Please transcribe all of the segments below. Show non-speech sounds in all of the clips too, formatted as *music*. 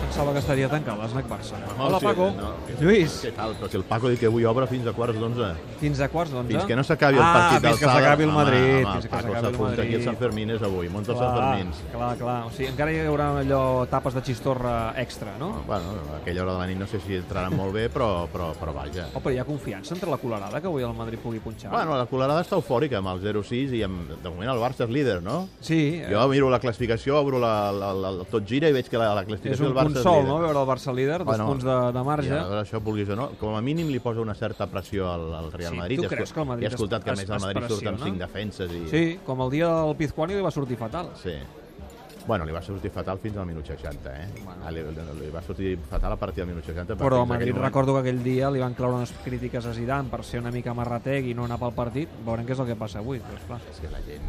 pensava que estaria tancant l'esnac Barça. No, Hola, sí, Paco. no. Lluís, Què tal? Però si el Paco diu que avui obre fins a quarts d'onze. fins a quarts d'onze. Fins que no s'acabi el partit ah, del fins que s'acabi el Madrid. fins Home, home, que Paco s'acabi el s'apunta Madrid. aquí al Sant Fermín és avui, munta els Sant Fermins. clar, clar. O sigui, encara hi haurà allò tapes de xistorra extra, no? Bueno, a aquella hora de la nit no sé si entraran molt bé, però, però, però vaja. Oh, però hi ha confiança entre la colorada que avui el Madrid pugui punxar? Bueno, la colorada està eufòrica amb el 0-6 i amb, de moment el Barça és líder, no? sí, eh, Jo miro la classificació, obro la, la, la, el tot gira i veig que la, la és classificació un del Barça consol, és líder. no?, veure el Barça líder, dos Bueno, punts de, de I marge. aleshores això vulguis o no, com a mínim li posa una certa pressió al, al Real Sí, Madrid. tu He escu- creus que el Madrid He escoltat que a es- més el es Madrid surt amb pressiona? cinc defenses i... Sí, com el dia del Pizjuani li va sortir fatal. Sí. Bueno, li va sortir fatal fins al minut 60, eh? Ah, Li, li va sortir fatal a partir del minut 60. Però a fins aquell Madrid moment- recordo que aquell dia li van claure unes crítiques a Zidane per ser una mica marratec i no anar pel partit. Veurem què és el que passa avui. Doncs, clar. És que la gent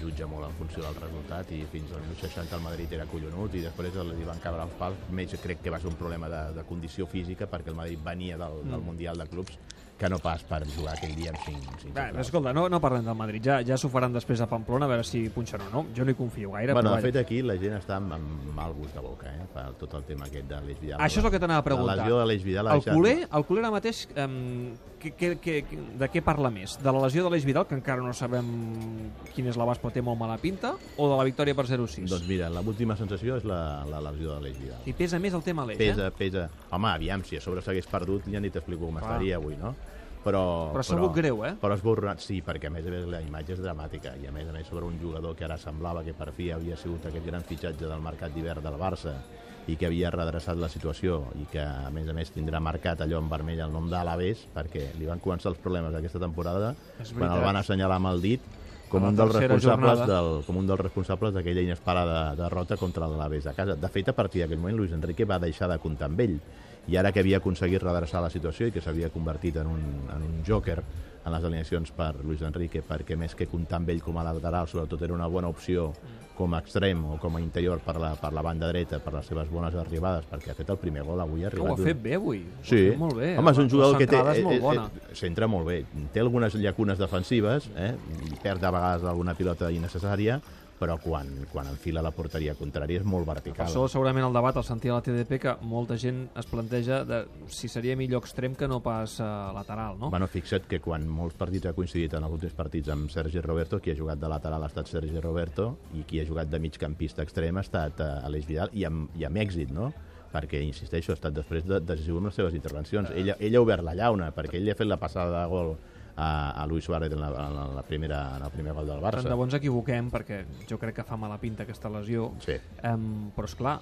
jutja molt en funció del resultat i fins al minut 60 el Madrid era collonut i després li van cabre els pals. Més crec que va ser un problema de, de condició física perquè el Madrid venia del, del Mm. Mundial de Clubs que no pas per jugar aquell dia amb 5, 5 Bé, escolta, no, no parlem del Madrid, ja, ja s'ho faran després a Pamplona, a veure si punxen o no. Jo no hi confio gaire, Bueno, però de vaja. fet, aquí la gent està amb, amb mal gust de boca, eh? Per tot el tema aquest de l'Eix Vidal. Això és el que t'anava a preguntar. La lesió de l'Eix Vidal... ha El deixat- culer, el culer ara mateix, um, que, que, que, de què parla més? De la lesió de l'Eix Vidal, que encara no sabem quin és l'abast, però té molt mala pinta, o de la victòria per 0-6? Doncs mira, l'última sensació és la, la lesió de l'Eix Vidal. I pesa més el tema l'Eix, eh? Pesa, pesa... Home, aviam, si a sobre s'hagués perdut, ja ni t'explico com Clar. estaria avui, no? Però, Però s'ha hagut greu, eh? Però esborrat, sí, perquè a més a més la imatge és dramàtica i a més a més sobre un jugador que ara semblava que per fi havia sigut aquest gran fitxatge del mercat d'hivern del Barça i que havia redreçat la situació i que a més a més tindrà marcat allò en vermell el nom d'Alavés perquè li van començar els problemes aquesta temporada És quan el veritat. van assenyalar amb el dit com A la un, dels tercera responsables jornada. del, com un dels responsables d'aquella inesperada derrota contra l'Alaves de casa. De fet, a partir d'aquell moment, Luis Enrique va deixar de comptar amb ell. I ara que havia aconseguit redreçar la situació i que s'havia convertit en un, en un jòquer en les alineacions per Luis Enrique, perquè més que comptar amb ell com a lateral, sobretot era una bona opció com a extrem o com a interior per la, per la banda dreta, per les seves bones arribades, perquè ha fet el primer gol avui. Ha Que ho ha arribat d'un- fet bé avui. Ho ha Sí. fet Molt bé. eh? Home, és un La jugador que té... centrada És molt bona. eh, Centra molt bé. Té algunes llacunes defensives, eh? i perd de vegades alguna pilota innecessària, però quan, quan enfila la porteria contrària és molt Per vertical. això segurament el debat al sentit de la TDP que molta gent es planteja de si seria millor extrem que no pas eh, lateral, no? Bueno, fixa't que quan molts partits ha coincidit en els últims partits amb Sergi Roberto, qui ha jugat de lateral ha estat Sergi Roberto i qui ha jugat de migcampista extrem ha estat eh, Aleix Vidal i amb, i amb èxit, no? perquè, insisteixo, ha estat després de, decisiu amb les seves intervencions. Ella, ella ha obert la llauna, perquè ell ha fet la passada de gol a, a Luis Suárez en, la, en, la primera, en el primer gol del Barça. Tant de bo ens equivoquem, perquè jo crec que fa mala pinta aquesta lesió. Sí. Em, però, és clar,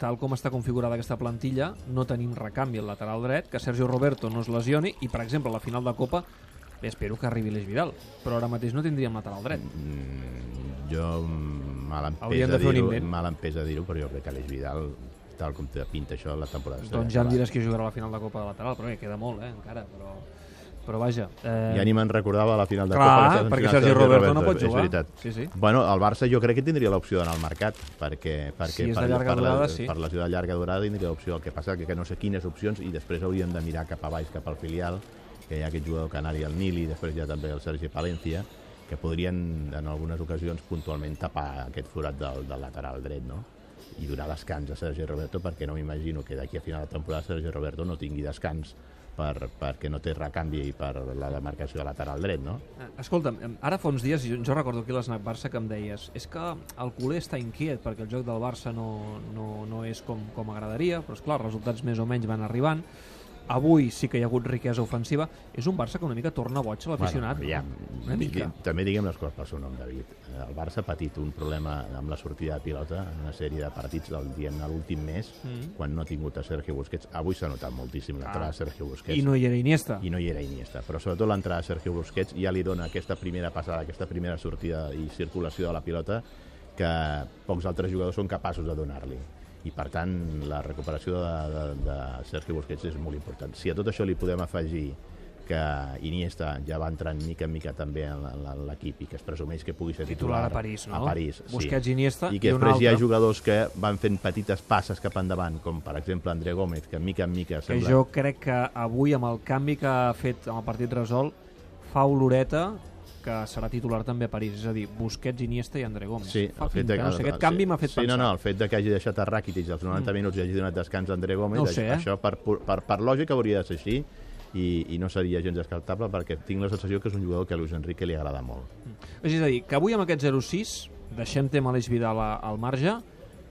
tal com està configurada aquesta plantilla, no tenim recanvi al lateral dret, que Sergio Roberto no es lesioni, i, per exemple, a la final de Copa, bé, espero que arribi l'Eix Vidal, però ara mateix no tindríem lateral dret. Mm, jo mm, me Hauríem l'empesa de fer un dir-ho, invent. me l'empesa dir-ho, però jo crec que Aleix Vidal, tal com té pinta això, la temporada estarà doncs ja em acabada. diràs qui jugarà a la final de Copa de lateral, però bé, queda molt, eh, encara, però... Però vaja... Eh... Ja ni me'n recordava la final de Clar, Copa. que s'ha perquè sancionat Sergi Roberto no pot jugar. És veritat. Sí, sí. Bueno, el Barça jo crec que tindria l'opció d'anar al mercat, perquè, Si perquè és de per, llarga per, durada, la, sí. per la ciutat de llarga durada tindria l'opció. El que passa que, que no sé quines opcions i després hauríem de mirar cap a baix, cap al filial, que hi ha aquest jugador canari, el Nili, després hi ha també el Sergi Palencia, que podrien, en algunes ocasions, puntualment tapar aquest forat del, del lateral dret, no? i donar descans a Sergi Roberto perquè no m'imagino que d'aquí a final de temporada Sergi Roberto no tingui descans per, perquè no té recanvi per la demarcació de lateral dret, no? Eh, Escolta'm, em, ara fa uns dies, jo, jo recordo aquí a l'Snac Barça que em deies és que el culer està inquiet perquè el joc del Barça no, no, no és com, com agradaria, però esclar, els resultats més o menys van arribant. Avui sí que hi ha hagut riquesa ofensiva. És un Barça que una mica torna boig a l'aficionat. Bueno, aviam, no? Una mica. digui- També diguem les coses pel seu nom, David. Eh, El Barça ha patit un problema amb la sortida de pilota en una sèrie de partits del diem a l'últim mes, Mm. Ah, quan no ha tingut a Sergio Busquets. Avui s'ha notat moltíssim l'entrada de Sergio Busquets. I no hi era Iniesta. i no hi era Iniesta, però sobretot l'entrada de Sergio Busquets ja li dona aquesta primera passada, aquesta primera sortida i circulació de la pilota que pocs altres jugadors són capaços de donar-li i per tant la recuperació de, de, de Sergio Busquets és molt important. Si a tot això li podem afegir que Iniesta ja va entrant mica en mica també en la- la- en l'equip i que es presumeix que pugui ser Titular titular, a París, no? A París, Busquets, sí. Iniesta I que i un després hi ha altre. jugadors que van fent petites passes cap endavant, com per exemple André Gómez, que mica en mica que sembla... jo crec que avui, amb el canvi que ha fet amb el partit resol, fa oloreta que serà titular també a París, és a dir, Busquets, Iniesta i André Gómez. Sí, Fa finta que no sé, aquest canvi m'ha fet sí, pensar. No, no, el fet de que hagi deixat a Rakitic als 90 mm. minuts i hagi donat descans a André Gómez, No ho sé, eh? això per, pu- per, per lògica hauria de ser així i, i no seria gens descartable perquè tinc la sensació que és un jugador que a Luis Enrique li agrada molt. És a dir, que avui amb aquest 0-6 deixem tema Aleix Vidal a- al marge,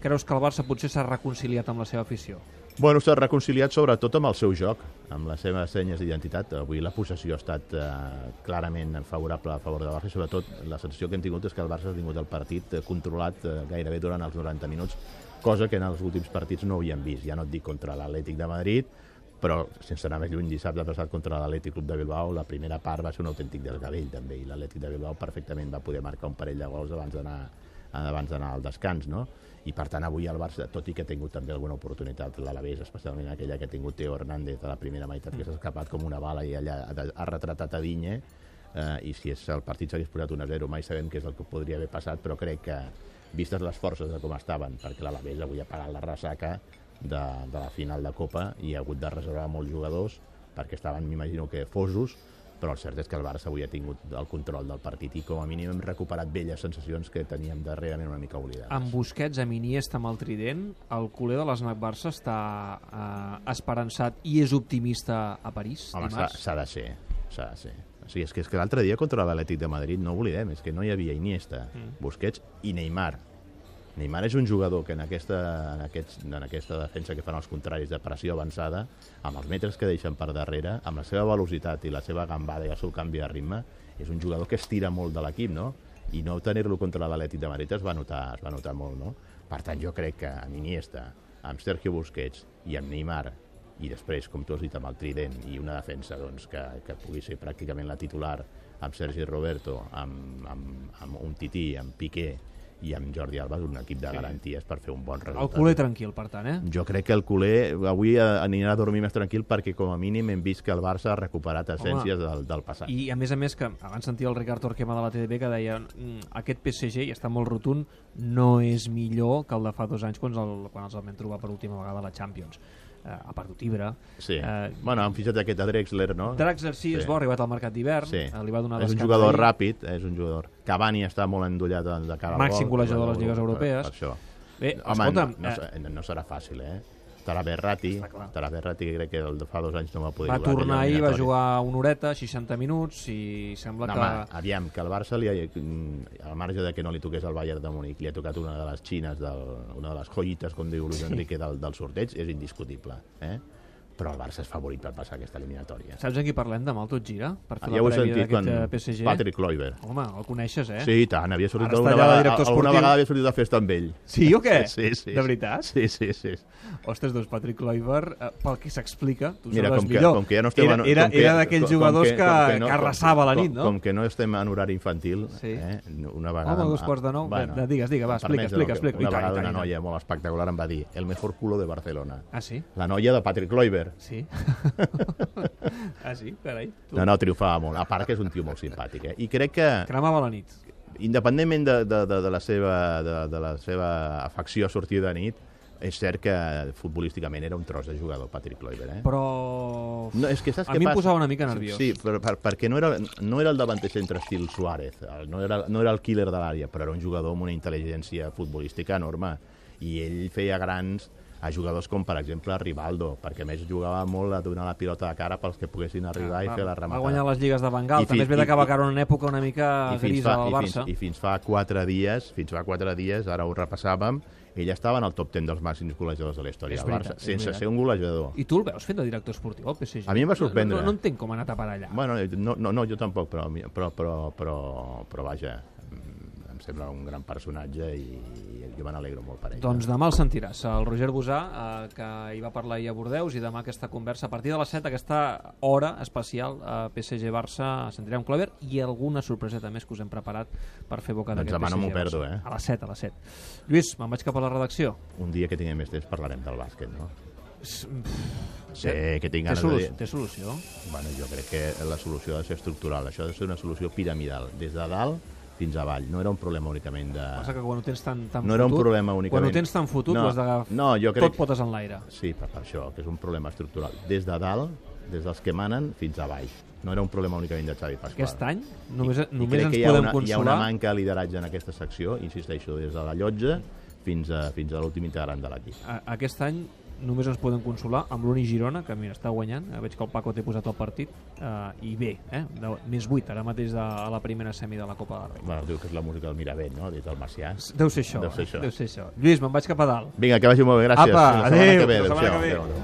creus que el Barça potser s'ha reconciliat amb la seva afició? Bueno, s'ha reconciliat sobretot amb el seu joc, amb les seves senyes d'identitat. Avui la possessió ha estat eh, clarament favorable a favor del Barça i sobretot la sensació que hem tingut és que el Barça ha tingut el partit eh, controlat eh, gairebé durant els 90 minuts, cosa que en els últims partits no havíem vist. Ja no et dic contra l'Atlètic de Madrid, però sense anar més lluny dissabte passat contra l'Atlètic Club de Bilbao la primera part va ser un autèntic desgavell també i l'Atlètic de Bilbao perfectament va poder marcar un parell de gols abans d'anar abans d'anar al descans, no? I per tant avui el Barça, tot i que ha tingut també alguna oportunitat l'Alavés, especialment aquella que ha tingut Teo Hernández a la primera meitat, que s'ha escapat com una bala i allà ha, ha retratat a Dinye, eh, i si és, el partit s'hagués posat 1-0 mai sabem què és el que podria haver passat, però crec que vistes les forces de com estaven, perquè l'Alavés avui ha pagat la ressaca de, de la final de Copa i ha hagut de reservar molts jugadors perquè estaven, m'imagino que fosos, però el cert és que el Barça avui ha tingut el control del partit i com a mínim hem recuperat velles sensacions que teníem darrerament una mica oblidades. Amb Busquets, amb Iniesta, amb el Trident, el culer de l'Snac Barça està eh, esperançat i és optimista a París Home, s'ha dimarts? s'ha de ser, s'ha de ser. O sigui, és que, és que l'altre dia contra l'Atlètic de Madrid, no ho oblidem, és que no hi havia Iniesta, mm. Busquets i Neymar. Neymar és un jugador que en aquesta, en, aquests, en aquesta defensa que fan els contraris de pressió avançada, amb els metres que deixen per darrere, amb la seva velocitat i la seva gambada i el seu canvi de ritme, és un jugador que estira molt de l'equip, no? I no tenir-lo contra l'Atlètic de Madrid es va notar, es va notar molt, no? Per tant, jo crec que amb Iniesta, amb Sergio Busquets i amb Neymar i després, com tu has dit, amb el Trident i una defensa doncs, que, que pugui ser pràcticament la titular amb Sergi Roberto, amb, amb, amb un Tití, amb Piqué i amb Jordi Alba, un equip de garanties per fer un bon El resultat. culer tranquil, per tant, eh? Jo crec que el culer avui eh, anirà a dormir més tranquil perquè com a mínim hem vist que el Barça ha recuperat essències del, del passat. I a més a més, que abans sentia el Ricard Torquema de la TDP que deia "Mm, aquest PSG, i està molt rotund, no és millor que el de fa dos anys quan, el, quan els el vam trobar per última vegada a la Champions. Eh, ha perdut Ibra. Sí. Eh, bueno, han fitxat aquest a Drexler, no? Draxler sí, és bo, ha arribat al mercat d'hivern, Sí. eh, li va donar és un descans jugador ahir. ràpid, eh, és un jugador... Cavani està molt endollat de de cara al Màxim gol, golejador de les per- lligues europees. Per, per això. Bé, Home, escolta'm, no, no, eh, se- no, serà fàcil, eh? Estarà Berrati, clar. estarà Berrati, que crec que el de fa dos anys no va poder va jugar. tornar aquella ahir, va eliminatòria. jugar una horeta, 60 minuts, i sembla No, que... home, aviam, que el Barça, li, ha- mm, al marge de que no li toqués el Bayern de Múnich, li ha tocat una de les xines, del, una de les joyites, com diu Luis Enrique, del, del sorteig, és indiscutible. Eh? Però el Barça és favorit per passar aquesta eliminatòria. Saps en qui parlem demà, el tot gira? Per fer Ah, Ja ho la he prèvia sentit d'aquest quan eh, PSG? Patrick Kluivert. Home, el coneixes, eh? Sí, i tant, havia sortit Ara està allà de alguna vegada, director alguna esportiu. Ah, vegada havia sortit de festa amb ell. Sí o què? Sí, sí. De veritat? Sí, sí, sí. Ostres, doncs Patrick Kluivert, eh, pel que s'explica, tu Mira, sabràs com que, millor. com que ja no estem... era, en- era, com que- era d'aquells com- com jugadors que, com que, no- arrasava a la com- nit, no? Com que no estem en horari infantil, Sí. eh? una vegada... Home, dos quarts de nou. Bé, digues, digues, va, em explica, permets, explica, no? explica. I Una tant, i vegada tant, una i noia molt espectacular em va dir el mejor culo de Barcelona. Ah, sí? La noia de Patrick Kluivert. *laughs* Sí. ah, sí? Carai. Tu. No, no, triomfava molt. A part que és un tio molt simpàtic, eh? I crec que... Cremava la nit. independentment de, de, de, de, la seva, de, de la seva afecció a sortir de nit, és cert que futbolísticament era un tros de jugador, Patrick Kluivert. Eh? Però... No, és que saps A què mi em passa? posava una mica nerviós. Sí, però, per, perquè no era, no era el davanter centre estil Suárez, el- no era, no era el killer de l'àrea, però era un jugador amb una intel·ligència futbolística enorme. I ell feia grans a jugadors com, per exemple, Rivaldo, perquè a més jugava molt a donar la pilota de cara pels que poguessin arribar i fer Ah, va la rematada. guanyar les lligues de Bengal. I També és fi- veritat que va i- caure en una època una mica grisa del i, Barça. fins, I fins fa quatre dies, fins fa quatre dies, ara ho repassàvem, ell estava en el top 10 dels màxims golejadors de la història És del Barça, veritat, és sense veritat. ser un golejador. I tu el veus fent de director esportiu al PSG? A mi em va sorprendre. No, no, no entenc com ha anat a parar allà. Bueno, eh, no, no, no, jo tampoc, però, mi- però, però, però, però vaja, mm, em sembla un gran personatge i, i jo me n'alegro molt per ell. eh. Doncs demà el sentiràs, el Roger Bosà, eh, que hi va parlar ahir a Bordeus, i demà aquesta conversa, a partir de les 7, aquesta hora especial eh, a PSG-Barça, sentirem Clover, i alguna sorpreseta més que us hem preparat per fer boca Doncs d'aquest demà no m'ho PSG-Barça. perdo, eh? A les 7, a les 7. Lluís, me'n vaig cap a la redacció. Un dia que tinguem més temps parlarem del bàsquet, no? Sí, que Té, tinc ganes de solu dir... té solució? Bueno, jo crec que la solució ha de ser estructural, això ha de ser una solució piramidal, des de dalt fins avall. No era un problema únicament de... Passa que quan ho tens tan, tan No era un fotut, problema únicament. Quan ho tens tan fotut, No, ho has d'agafar no, jo crec- tot potes en l'aire. Sí, per, per això, que és un problema estructural. Des de dalt des dels que manen fins a baix. No era un problema únicament de Xavi Pasqual. Aquest any només, I només crec ens que hi ha, podem una, hi ha consolar una manca de lideratge en aquesta secció, insisteixo, des de la llotja fins a, fins a l'últim integrant de l'equip. a- aquest any només ens podem consolar amb l'Uni Girona, que mira, està guanyant, eh, veig que el Paco té posat el partit, eh, i bé, eh, de, més 8 ara mateix de, a la primera semi de la Copa del Rei. Bueno, diu que és la música del Mirabell, no?, des del Marcià. Deu ser això, Deu ser eh? això. Deu ser això. Lluís, me'n vaig cap a dalt. Vinga, que vagi molt bé, gràcies. Apa, Fins la setmana adéu, que fins ve. la setmana que Adéu, ve. adéu.